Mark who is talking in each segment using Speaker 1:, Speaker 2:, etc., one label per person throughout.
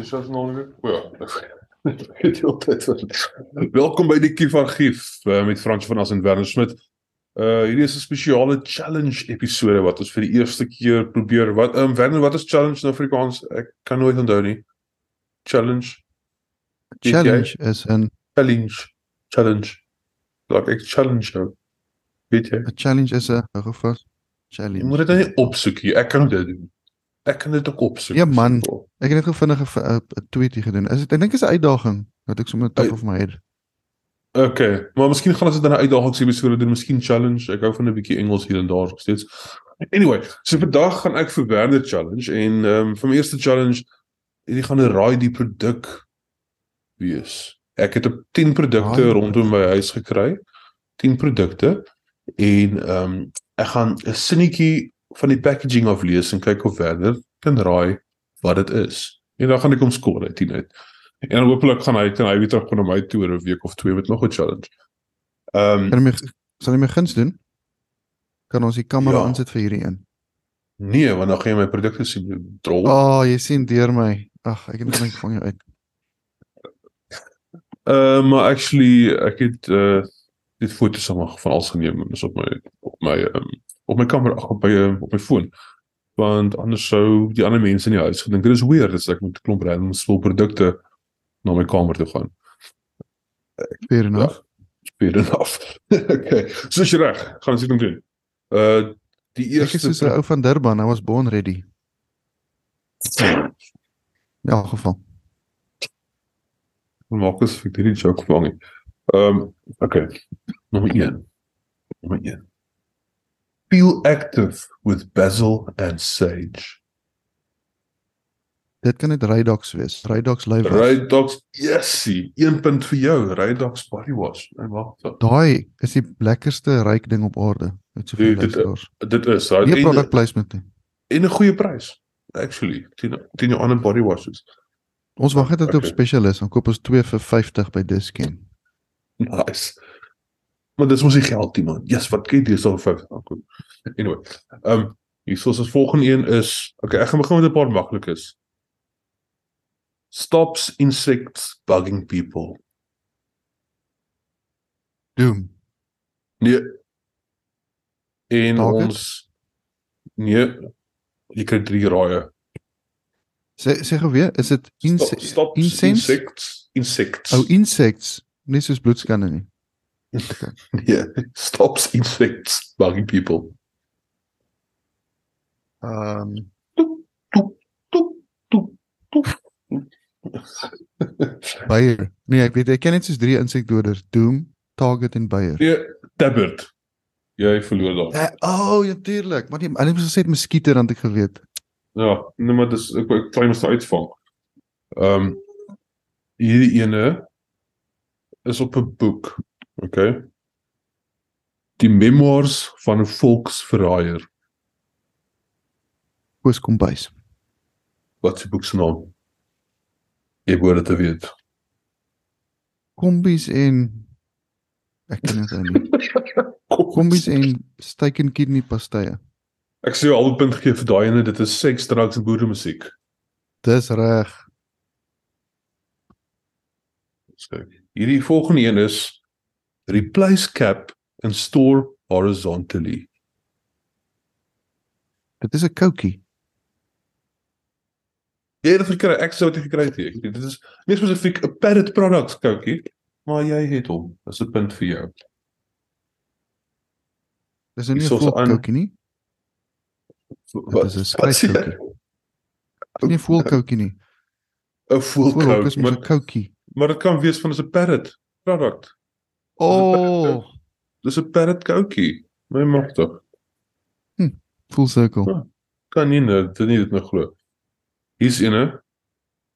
Speaker 1: zelfs nog... Ja, dat weet je altijd wel. Welkom by die Kief Argief eh, met Frans van As en Werner Smit. Uh hierdie is 'n spesiale challenge episode wat ons vir die eerste keer probeer. Wat ehm Werner, wat is challenge in Afrikaans? Ek kan nooit onthou nie. Challenge, Weet jy?
Speaker 2: Challenge is 'n
Speaker 1: challenge, challenge. Like ek challenge jou. Weet jy?
Speaker 2: 'n challenge is 'n hou gou vas.
Speaker 1: Jy
Speaker 2: Challenge.
Speaker 1: moet dit nou nie opsoek nie. Ek kan dit doen. Ek kan dit ook opsoek.
Speaker 2: nee.
Speaker 1: Oh.
Speaker 2: Ja, man. Ek het net gou vinnig 'n v- 'n 'n tweetie gedoen. Is dit ek dink is 'n uitdaging wat ek sommer top
Speaker 1: Uit-
Speaker 2: of my head.
Speaker 1: Okay, maar miskien gaan ons dit dan 'n uitdagingsepisode doen, miskien challenge. Ek hou van 'n bietjie Engels hier en daar nog steeds. Anyway, so vandag gaan ek vir Werner challenge en ehm um, vir my eerste challenge hierdie gaan 'n raai die produk wees. Ek het op 10
Speaker 2: Raai
Speaker 1: produkte
Speaker 2: die
Speaker 1: rondom my huis gekry. 10 produkte en ehm um, ek gaan 'n sinnetjie van die packaging af lees en kyk of Werner kan raai wat dit is. En dan gaan ek hom skoor uit 10 uit. En dan hopelik gaan hy kan hy weer terugkom na my toe oor 'n week of twee met nog 'n challenge. Ehm um,
Speaker 2: Kan jy my sal jy my guns doen? Kan ons die kamera
Speaker 1: Ja.
Speaker 2: aansit vir hierdie een?
Speaker 1: nee, want dan gaan jy my produkte sien drol. Ehm
Speaker 2: O, oh, jy sien deur my. Ag, ek het gedink vang jou uit.
Speaker 1: uh, maar actually ek het uh dit foto's almal van alles geneem en is op my op my um, op my kamera ag, op my um, op my foon. Want anders sou die ander mense in die huis gedink dit is weird dat ek met 'n klomp random spul produkte na my kamer toe gaan.
Speaker 2: Fair
Speaker 1: Ja,
Speaker 2: enough.
Speaker 1: Fair enough. okay. So is jy reg. Gaan ons dit dan doen. Uh die
Speaker 2: Ja, ek
Speaker 1: eerste
Speaker 2: is soos 'n ou van Durban. I was born ready. In elk geval.
Speaker 1: Marcus vir hierdie joke vang nie. Ehm, um, okay. Nommer 1. Nommer 1. Peel active with basil and sage.
Speaker 2: Dit kan net Rydox wees. Rydox live. was.
Speaker 1: Rydox, yesie, 1 punt vir jou. Rydox body wash. Nee, wag. so.
Speaker 2: Daai is die lekkerste ryk ding op aarde. Met soveel
Speaker 1: Dude, dit-
Speaker 2: luisteraars.
Speaker 1: Dit is hy
Speaker 2: Nie product
Speaker 1: en,
Speaker 2: placement nie.
Speaker 1: en 'n goeie prys actually. Teen teen jou ander body washes.
Speaker 2: Ons wag net tot dit op
Speaker 1: Okay.
Speaker 2: spesialis, dan koop ons 2 vir 50 by Dischem.
Speaker 1: Nice. Maar dis mos nie geld nie man. Jesus, wat kyk dis al vir aankom. Ah, Anyway. Ehm um, hierso is ons volgende een is okay, ek gaan begin met 'n paar maklikes. Stops insects bugging people.
Speaker 2: Doom.
Speaker 1: Nee. En
Speaker 2: Target?
Speaker 1: ons nee, jy kry drie raaie.
Speaker 2: Sê sê gou weer, is dit
Speaker 1: Stop,
Speaker 2: inse
Speaker 1: stops
Speaker 2: incense? Oh,
Speaker 1: insects insects.
Speaker 2: Ou insects, nie soos bloedskande nie.
Speaker 1: nee, stops insects bugging people.
Speaker 2: Ehm um,
Speaker 1: Toep, toep, toep.
Speaker 2: Bayer. Nee, ek weet ek ken net soos drie insekdoders, Doom, Target en Bayer.
Speaker 1: Nee, Tabbert. Jy verloor daar.
Speaker 2: Eh, o, oh, natuurlik. Maar die hulle het gesê muskiete dan het ek geweet.
Speaker 1: Ja, nee maar dis ek ek klim mos uitvang. Ehm hierdie ene is op 'n boek, okay? Die memoirs van 'n volksverraaier.
Speaker 2: Koos kom bys.
Speaker 1: Wat is die boek se naam? Jy moet dit te weet.
Speaker 2: Kombies en ek ken dit nou nie. Kombies en steak and kidney pastye.
Speaker 1: Ek sê al 'n punt gegee vir daai ene, dit is seks, drugs en boere musiek.
Speaker 2: Dis reg.
Speaker 1: So, hierdie volgende een is replace cap and store horizontally.
Speaker 2: Dit is 'n koukie.
Speaker 1: Jy het dit gekry, ek sou dit gekry het. hier. Ek- Dit is nie spesifiek 'n parrot product koukie, maar jy het hom. Dis 'n punt vir jou.
Speaker 2: Dis nou nie 'n
Speaker 1: Hierso's
Speaker 2: vol
Speaker 1: aan-
Speaker 2: koukie nie. Dit is 'n skryfkoukie. Dis nie 'n vol koukie nie.
Speaker 1: 'n full
Speaker 2: Voorop is
Speaker 1: koukie,
Speaker 2: mos 'n
Speaker 1: maar
Speaker 2: koukie.
Speaker 1: maar dit kan wees van is 'n parrot product.
Speaker 2: O, oh,
Speaker 1: Dis 'n parrot koukie. My magtig.
Speaker 2: full circle.
Speaker 1: Kan nie nou, dit nie dit nou glo. Hier's eene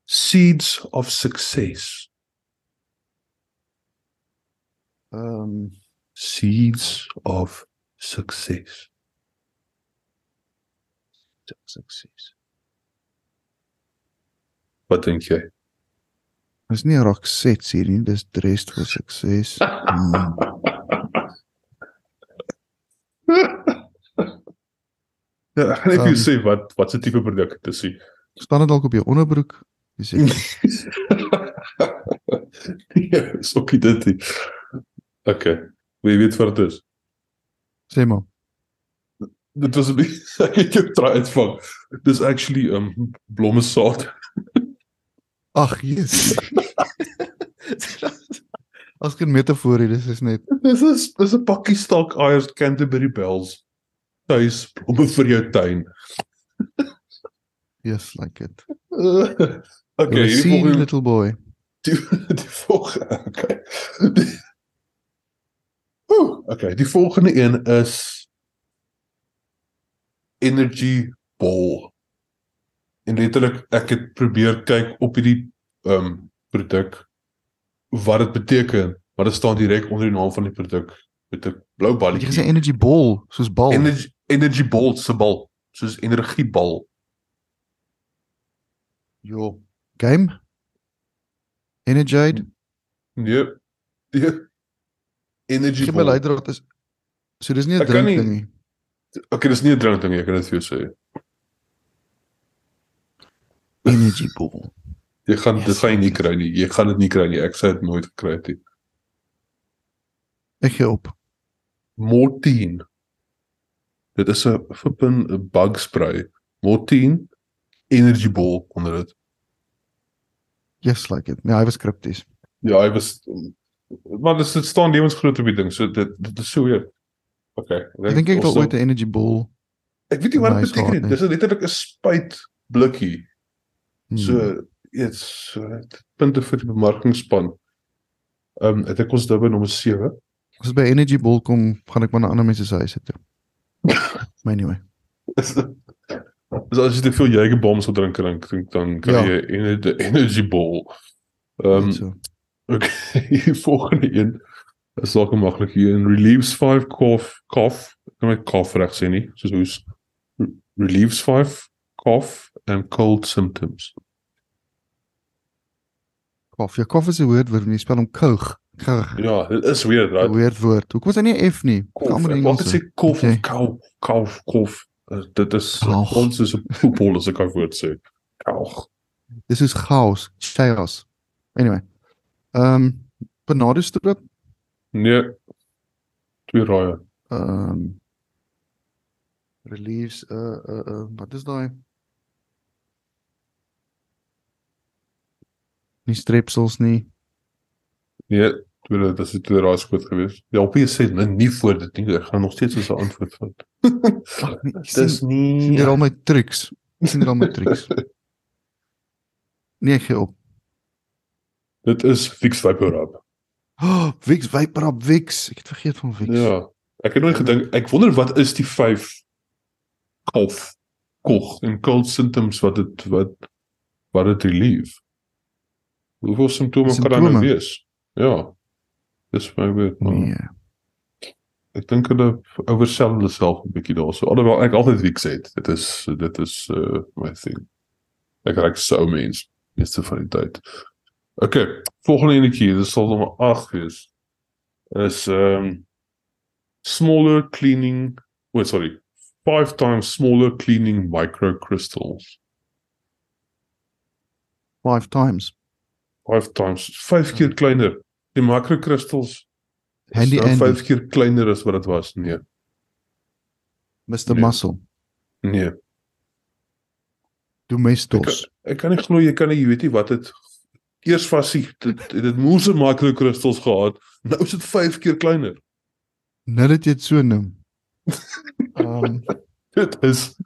Speaker 1: Seeds of Success.
Speaker 2: Ehm um,
Speaker 1: Seeds of Success. Success. Wat dink jy?
Speaker 2: dis nie 'n rokset hier nie, dis dressed for success. Hmm.
Speaker 1: Ja, ek kan net vir jou
Speaker 2: Ehm. Um,
Speaker 1: sê wat wat se tipe produk dit is. nie.
Speaker 2: Staan dit dalk op jou onderbroek? Dis ek.
Speaker 1: Ja, is ook nie dit nie. Okay. Wie weet wat dit is.
Speaker 2: Sê maar.
Speaker 1: Dit was 'n bietjie ek het jou try uitvang. Dis actually um blomme saad.
Speaker 2: Ag, Jesus. As geen metafoor hier, dis is net
Speaker 1: Dis is dis 'n pakkie stalk eiers Canterbury Bells. Tuis blomme vir jou tuin.
Speaker 2: yes like it.
Speaker 1: Okay,
Speaker 2: Okay,
Speaker 1: hierdie
Speaker 2: see
Speaker 1: volgende
Speaker 2: little boy.
Speaker 1: die, die volgende. Okay. Die, Oeh, okay, die volgende een is energy bol. En letterlik ek het probeer kyk op hierdie ehm um, produk wat dit beteken, maar dit staan direk onder die naam van die produk met 'n blou
Speaker 2: Het jy
Speaker 1: balletjie.
Speaker 2: gesê energy ball soos bal?
Speaker 1: Energy energy bol se bal, soos energiebal.
Speaker 2: Jo. Game? Energide?
Speaker 1: Nee. Nee. Energy
Speaker 2: Geen
Speaker 1: bol.
Speaker 2: beleidraad is So dis nie 'n
Speaker 1: Ek kan
Speaker 2: drink
Speaker 1: nie-
Speaker 2: ding nie.
Speaker 1: Okay, dis nie 'n drink ding, ek kan dit vir jou sê.
Speaker 2: Energy ball.
Speaker 1: Jy gaan dit
Speaker 2: Yes,
Speaker 1: gaan jy nie
Speaker 2: yes.
Speaker 1: kry nie. Jy gaan dit nie kry nie. Ek sê dit nooit gekry het nie.
Speaker 2: Ek gee op.
Speaker 1: Mortine. Dit is 'n flippin bug spray. Mortine energy ball onder dit.
Speaker 2: Yes like it. Nee, hy was krypties.
Speaker 1: Ja, hy was maar dis dit staan lewensgroot op die ding. So dit dit is so weer. Okay.
Speaker 2: Ek dink ek het al
Speaker 1: ons-
Speaker 2: ooit 'n energy ball.
Speaker 1: Ek weet nie wat dit
Speaker 2: nice
Speaker 1: beteken
Speaker 2: gehad,
Speaker 1: nie. Dis letterlik 'n spuit blikkie.
Speaker 2: Hmm.
Speaker 1: So dit's punte vir die bemarkingspan. Ehm um, ek dink ons dink by nommer 7.
Speaker 2: As dit by energy bol kom, gaan ek maar na ander mense se huise toe. Maar anyway.
Speaker 1: Is dit- Dus as jy te veel Jägerbombs wil drink, dan drink dan kry
Speaker 2: Ja.
Speaker 1: jy ener- energy ball. Ehm
Speaker 2: net so.
Speaker 1: die volgende een is dalk 'n maklike een relieves 5 cough cough. Ek Kan my cough reg sê nie, soos hoes. Re- Relieves 5 cough and cold symptoms.
Speaker 2: Kof. Ja, kof is 'n woord wat mense spel om koug. Koug.
Speaker 1: Ja, dit is weer
Speaker 2: Right.
Speaker 1: daai
Speaker 2: Weird woord. Hoekom is hy nie 'n F nie?
Speaker 1: cough. Ek wou net sê cough
Speaker 2: Okay.
Speaker 1: of cough cough cough. Uh, Dit is
Speaker 2: Kalf.
Speaker 1: ons is 'n voetbal as ek kan woord sê. Kalg.
Speaker 2: Dis is chaos, chaos. Anyway. Ehm um, Bernardo stroop,
Speaker 1: Nee. Twee raaie.
Speaker 2: ehm um, relieves uh uh uh wat is daai? Nie strepsels nie.
Speaker 1: Nee, tweede, dit is die tweede raaiskoot gewees. Ja, op hier sê nee, nie voor dit nie. Ek gaan nog steeds soos 'n antwoord vat.
Speaker 2: Ag nee, ek
Speaker 1: Dis ja.
Speaker 2: sien
Speaker 1: nie
Speaker 2: hier al my triks. Ek sien hier al my triks. Nee, ek gee op.
Speaker 1: Dit is Fix Viper Up.
Speaker 2: Oh, Wix Viper op Wix. Ek het vergeet van Wix.
Speaker 1: Ja. Ek het nooit gedink ek wonder wat is die 5 kalf kog en cold symptoms wat dit wat wat dit relief. Hoeveel simptome kan daar nou
Speaker 2: Simptome?
Speaker 1: wees? Ja. Dis my weet. Nee.
Speaker 2: Nee.
Speaker 1: Ek dink hulle oversell hulle self 'n bietjie daarso. Alhoewel ek altyd week sê dit is dit is uh my thing. Ek raak so mens meeste van die tyd. Okay, volgende enetjie, dit sal nommer 8 wees. Is um smaller cleaning, wait sorry, 5 times smaller cleaning microcrystals.
Speaker 2: 5 times.
Speaker 1: 5 times 5 keer kleiner. Die microcrystals
Speaker 2: Hmm. Handy
Speaker 1: is
Speaker 2: Andy.
Speaker 1: 5 keer kleiner as wat dit was. Nee.
Speaker 2: Mr
Speaker 1: Nee.
Speaker 2: Muscle.
Speaker 1: Nee.
Speaker 2: Domestos.
Speaker 1: Ek kan nie glo jy kan nie jy weet nie wat dit eers was dit dit- dit moes 'n makrokristals gehad. Nou is dit 5 keer kleiner.
Speaker 2: Nou dat jy dit so noem. Ehm um,
Speaker 1: Dit is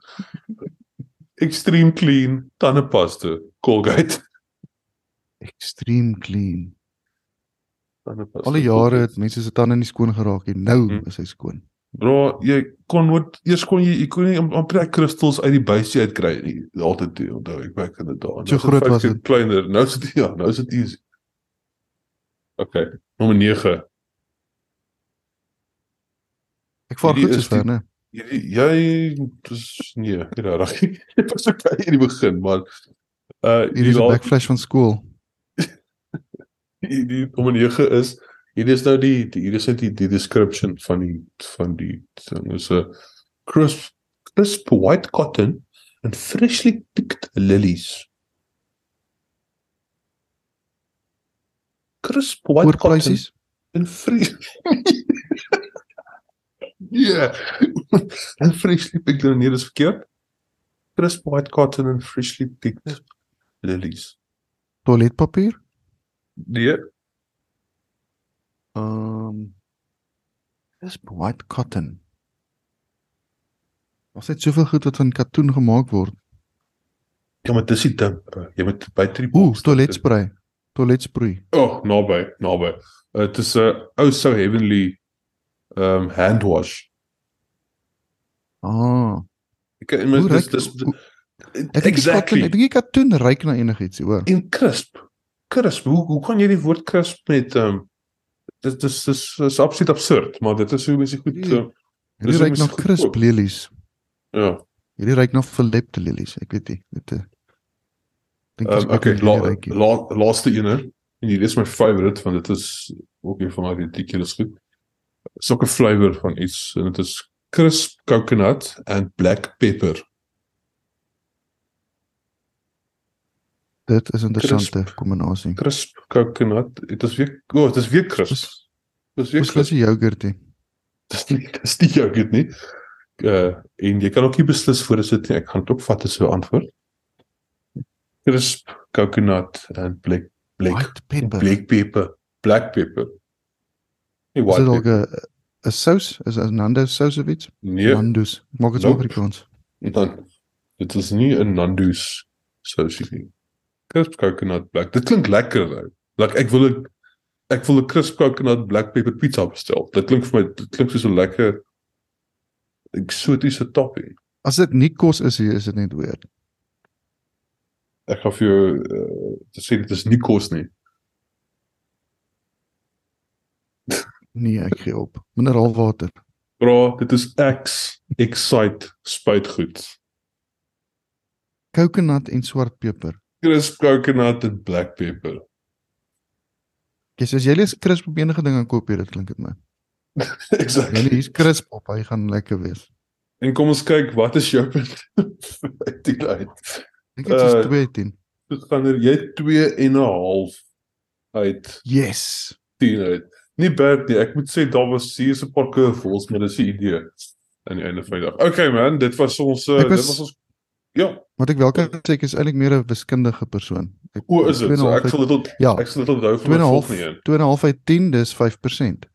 Speaker 1: extreme clean tandepaste, Colgate
Speaker 2: extreme clean.
Speaker 1: tandepaste.
Speaker 2: Alle jare het mense se tande nie skoon geraak nie. Nou
Speaker 1: Hmm.
Speaker 2: is hy skoon.
Speaker 1: bro, jy kon nooit eers kon jy jy kon nie am- amper ek kristals uit die buisie uitkry nie. Altyd toe, onthou ek back in the day. Nou
Speaker 2: So
Speaker 1: is dit
Speaker 2: groot
Speaker 1: vyf
Speaker 2: was
Speaker 1: keer
Speaker 2: dit.
Speaker 1: Kleiner. Nou is dit ja, nou is dit easy. Okay, nommer 9.
Speaker 2: Ek vaar
Speaker 1: Hierdie
Speaker 2: goed
Speaker 1: is
Speaker 2: sover, né?
Speaker 1: Jy jy dis nee, nie regtig. Dit was okay in die begin, maar uh
Speaker 2: Hier
Speaker 1: hierdie
Speaker 2: is 'n
Speaker 1: laat
Speaker 2: backflash van skool.
Speaker 1: hierdie om 9 is hierdie is nou die die- hier is net die, die description van die van die ding is 'n crisp crisp white cotton and freshly picked lilies. crisp white cotton
Speaker 2: Oorprysies.
Speaker 1: en vries. Ja. En freshly picked en hier is verkeerd. Crisp white cotton en freshly
Speaker 2: Ja.
Speaker 1: picked lilies.
Speaker 2: Toiletpapier.
Speaker 1: Nee,
Speaker 2: Ehm Dis white cotton. Ons het soveel goed wat van katoen gemaak word.
Speaker 1: ja, maar dis die ding. bro. Jy moet by drie
Speaker 2: Ooh, toiletsprei. Toiletsprei.
Speaker 1: Oh, naby, naby. Uh, Dit is 'n oh so heavenly um hand wash.
Speaker 2: Ah.
Speaker 1: Ek kan maar
Speaker 2: Hoe
Speaker 1: dis
Speaker 2: ruik-
Speaker 1: dis
Speaker 2: hoe- Ek dink exactly.
Speaker 1: exactly
Speaker 2: ek dink die katoen ruik na enigiets, hoor.
Speaker 1: in crisp. Crisp. Hoe hoe kan jy die woord crisp met um dit dis dis is absoluut absurd, maar dit is hoe mense goed
Speaker 2: Ja.
Speaker 1: um,
Speaker 2: Hierdie
Speaker 1: Dis
Speaker 2: ruik na
Speaker 1: immers
Speaker 2: crisp
Speaker 1: goedkoop.
Speaker 2: lelies.
Speaker 1: ja.
Speaker 2: Hierdie ruik na verlepte lelies, ek weet nie. Dit eh, Dink
Speaker 1: Um,
Speaker 2: ek
Speaker 1: okay,
Speaker 2: okay,
Speaker 1: la,
Speaker 2: ruik. hier.
Speaker 1: la, laaste een hè. en hier is my favorite want dit is ook een van my ridiculous goed. Is ook 'n flavour van iets en dit is crisp coconut and black pepper.
Speaker 2: Dit is 'n interessante kombinasie.
Speaker 1: Crisp coconut. Dit is weer o, oh, dit is weer crisp.
Speaker 2: Dis-
Speaker 1: Dit is weer
Speaker 2: Dis
Speaker 1: crisp.
Speaker 2: mos 'n yoghurt hè.
Speaker 1: Dis nie dis nie yoghurt nie. Uh en jy kan ook nie beslis voor as dit nie. Ek gaan dit ook vat as 'n antwoord. Crisp coconut and black black
Speaker 2: White pepper. Is
Speaker 1: black pepper, black pepper. Nee, white
Speaker 2: dit
Speaker 1: pepper.
Speaker 2: ook 'n 'n sous? Is 'n Nando sous of iets?
Speaker 1: Nee,
Speaker 2: Ja. Nando's. Maak dit so
Speaker 1: Nope.
Speaker 2: Afrikaans.
Speaker 1: dan dit is nie 'n Nando's sousie nie. Crisp coconut black. Dit klink lekker nou. Like ek wil 'n ek wil 'n crisp coconut black pepper pizza bestel. Dit klink vir my dit klink soos 'n lekker eksotiese topping.
Speaker 2: As dit nie kos is hier, is dit net weird.
Speaker 1: Ek gaan vir jou uh, te sê dit is nie kos nie.
Speaker 2: Nee, ek gee op. Mineraalwater.
Speaker 1: Bra, dit is X Excite spuitgoed.
Speaker 2: Coconut en swart peper.
Speaker 1: Crisp coconut en black pepper.
Speaker 2: Kies as jy lees crisp op enige ding dan koop jy dit klink dit my. Nee, nee,
Speaker 1: exactly.
Speaker 2: hier's crisp op. Hy gaan lekker wees.
Speaker 1: En kom ons kyk wat is jou punt? Uit die uit.
Speaker 2: Ek dink dit is
Speaker 1: Eh,
Speaker 2: 210.
Speaker 1: Dit gaan er jy 2 en 'n half uit
Speaker 2: Yes.
Speaker 1: 10 uit. Nie bad nie. Ek moet sê daar was hier is 'n paar curveballs, maar dis 'n idee aan die einde van die dag. Okay man, dit was ons uh,
Speaker 2: Ek
Speaker 1: was... dit
Speaker 2: was-
Speaker 1: was ons Ja,
Speaker 2: Wat ek wel kan sê ek is eintlik meer 'n wiskundige persoon. Ek
Speaker 1: o is dit? So, ek
Speaker 2: 2,5
Speaker 1: sal dit tot
Speaker 2: Ja,
Speaker 1: ek sal dit onthou vir
Speaker 2: Twee
Speaker 1: my
Speaker 2: en 'n half.
Speaker 1: volgende een.
Speaker 2: 2,5 uit 10 dis 5%.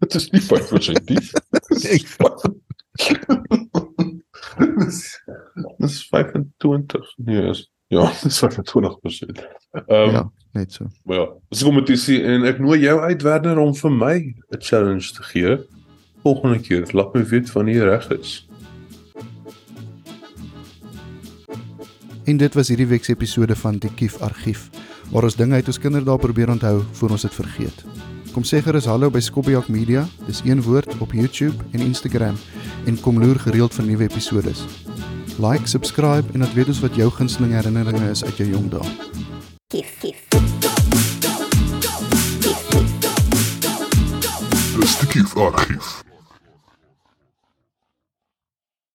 Speaker 1: Dit is nie 5% nie.
Speaker 2: Ek-
Speaker 1: Dis dis 25. Nee, is, ja, dis 25%. Ehm um, ja.
Speaker 2: Ja, net so.
Speaker 1: maar ja, dis 'n kompetisie en ek nooi jou uit Werner om vir my 'n challenge te gee volgende keer. Laat my weet wanneer jy reg is.
Speaker 2: En dit was hierdie week se episode van Die Kief Argief, waar ons dinge uit ons kinderdae probeer onthou voor ons dit vergeet. Kom sê gerus hallo by Skobbejak Media, dis een woord op YouTube en Instagram en kom loer gereeld vir nuwe episode. Like, subscribe en laat weet ons wat jou gunsteling herinneringe is uit jou jong dae.
Speaker 3: Kief, kief.
Speaker 4: Stukkie argief.